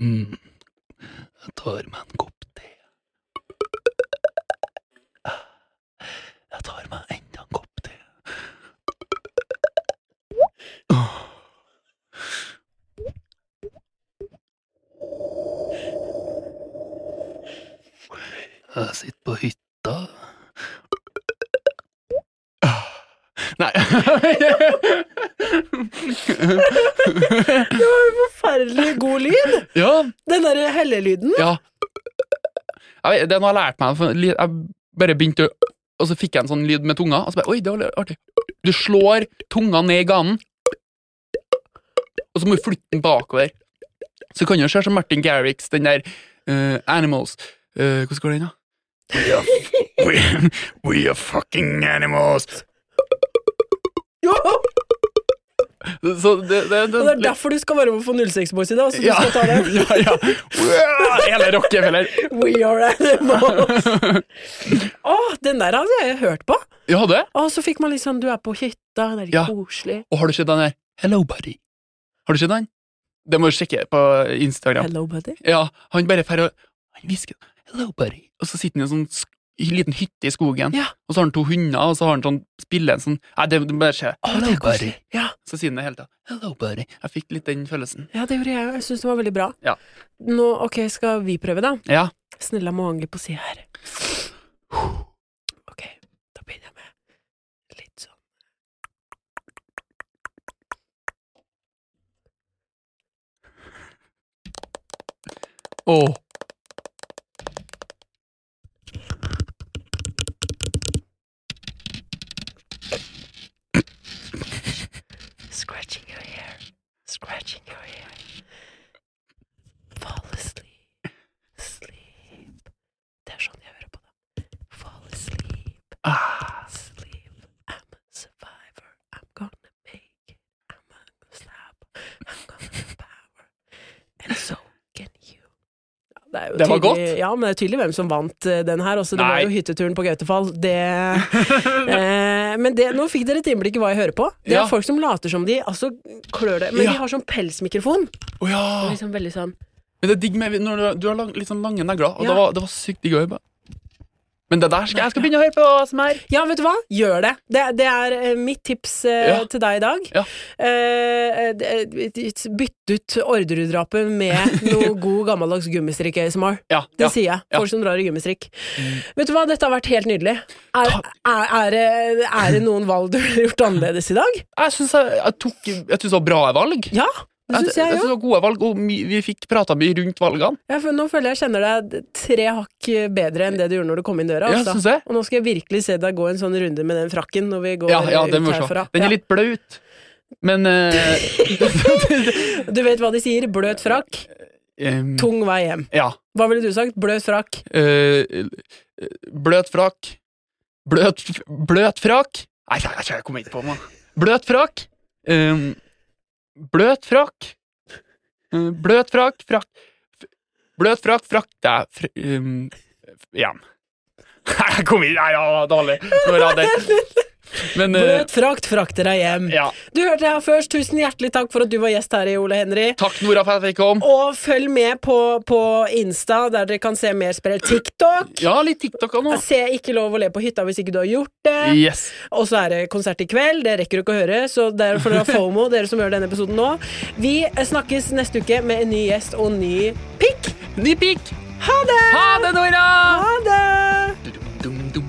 Mm. Jeg tar meg en kopp te. Ah, Jeg tar meg enda en kopp te. Ah. Jeg sitter på hytta. Ah. Nei. *laughs* Det var jo forferdelig god lyd! ja, Den derre hellelyden. ja. Jeg vet, det er noe jeg har lært meg. for li- Jeg bare begynte å Og så fikk jeg en sånn lyd med tunga, og så bare Oi, det var litt artig. Du slår tunga ned i ganen, og så må du flytte den bakover. Så kan du se som Martin Garrix, den der eh, Animals Eh, Hvordan går den, da? We are, we, we are fucking animals. Jo! Så det, det, Og det er derfor du skal være med på 06 Boys i dag. Så du ja. skal ta den. ja, *laughs* ja. Wow, Hele Rockefeller. We are *laughs* animals. Å, den der hadde jeg hørt på. Ja, det? Å, så fikk man litt sånn Du er på hytta, det er litt Ja. koselig. Og har du sett den der? Hello, buddy. Har du sett den? Det må du sjekke på Instagram. Hello, buddy. Ja, han bare fer og Han hvisker Hello, buddy. Og så sitter han i en sånn sk i en liten hytte i skogen, Ja. og så har han to hunder, og så har han sånn spille en sånn Nei, det må bare skje. Å, det er koselig. Ja. Så sier han det hele tida. Hello, buddy. Jeg fikk litt den følelsen. ja, det gjorde jeg òg. Jeg syns det var veldig bra. Ja. Nå, ok, skal vi prøve, da? Ja. Snilla må angre på å si her. Ok, da begynner jeg med litt sånn Åh. Scratching your hair, scratching your hair. Fall asleep, sleep. Det er sånn jeg hører på det. Fall asleep, Ah. sleep. I'm a survivor. I'm gonna make it. I'm gonna slap. I'm gonna power. And so can you. Ja, Det, er jo Det var tydelig- godt. Ja, men det er tydelig hvem som vant eh, den her. Også, det var Nei. jo hytteturen på Gautefall. *laughs* Det, eh, men det, nå fikk dere et innblikk i hva jeg hører på. Det er Ja. folk som later som de altså klør det. Men Ja. de har sånn pelsmikrofon. Å ja. Liksom veldig sånn Men det er digg med når du, du har lang, litt sånn lange negler, og Ja. det, var, det var sykt digg å høre på. Men det der skal jeg skal begynne å høre på ASMR. Ja, vet du hva? Gjør det. Det, det er eh, mitt tips eh, Ja. til deg i dag. Ja. Eh, eh, det- bytt ut Orderud-drapet *laughs* med noe god, gammeldags gummistrikk ASMR. Ja, Det ja, sier jeg. ja. Mm. Folk som drar i gummistrikk. Vet du hva, dette har vært helt nydelig. Er, er, er, det- er det noen valg du har gjort annerledes i dag? Jeg syns jeg, jeg, tok- jeg synes det var bra valg. Ja, det syns jeg synes jo. det var gode valg, og my, vi fikk prata mye rundt valgene. Ja, for nå føler jeg jeg kjenner deg tre hakk eh, bedre enn det du gjorde når du kom inn døra. Ja, altså. synes jeg. Og nå skal jeg virkelig se deg gå en sånn runde med den frakken når vi går Ja, ja, den ut må vi se. herfra. Den Ja. er litt blaut, men *laughs* eh, Du vet hva de sier, bløt frakk, em, tung vei hjem. Ja. Hva ville du sagt? Bløt frakk. eh, bløt frakk. Bløt, bløt frakk. Nei, nei, nei, jeg kom ikke på meg. Bløt frakk. Em, bløt frakk. Eh, bløt frakk, frakk. f- Bløt frakk, frakk deg fr, em, f- igjen. *laughs* Nei, jeg kom ikke Nei, ja, dårlig. Nå var jeg *laughs* der. Men eh, Bløt frakt frakter deg hjem. ja. Du hørte det her først. Tusen hjertelig takk for at du var gjest her i Ole Henry. Takk, Nora, for at jeg fikk komme. Og følg med på, på Insta, der dere kan se mer sprell. TikTok! Ja, litt TikTok nå. Se Ikke lov å le på hytta hvis ikke du har gjort det. Yes. Og så er det konsert i kveld, det rekker du ikke å høre, så derfor dere har FOMO, dere som hører denne episoden nå. Vi snakkes neste uke med en ny gjest og en ny pikk. Ny pikk. Ha det! Ha det, Nora! Ha det!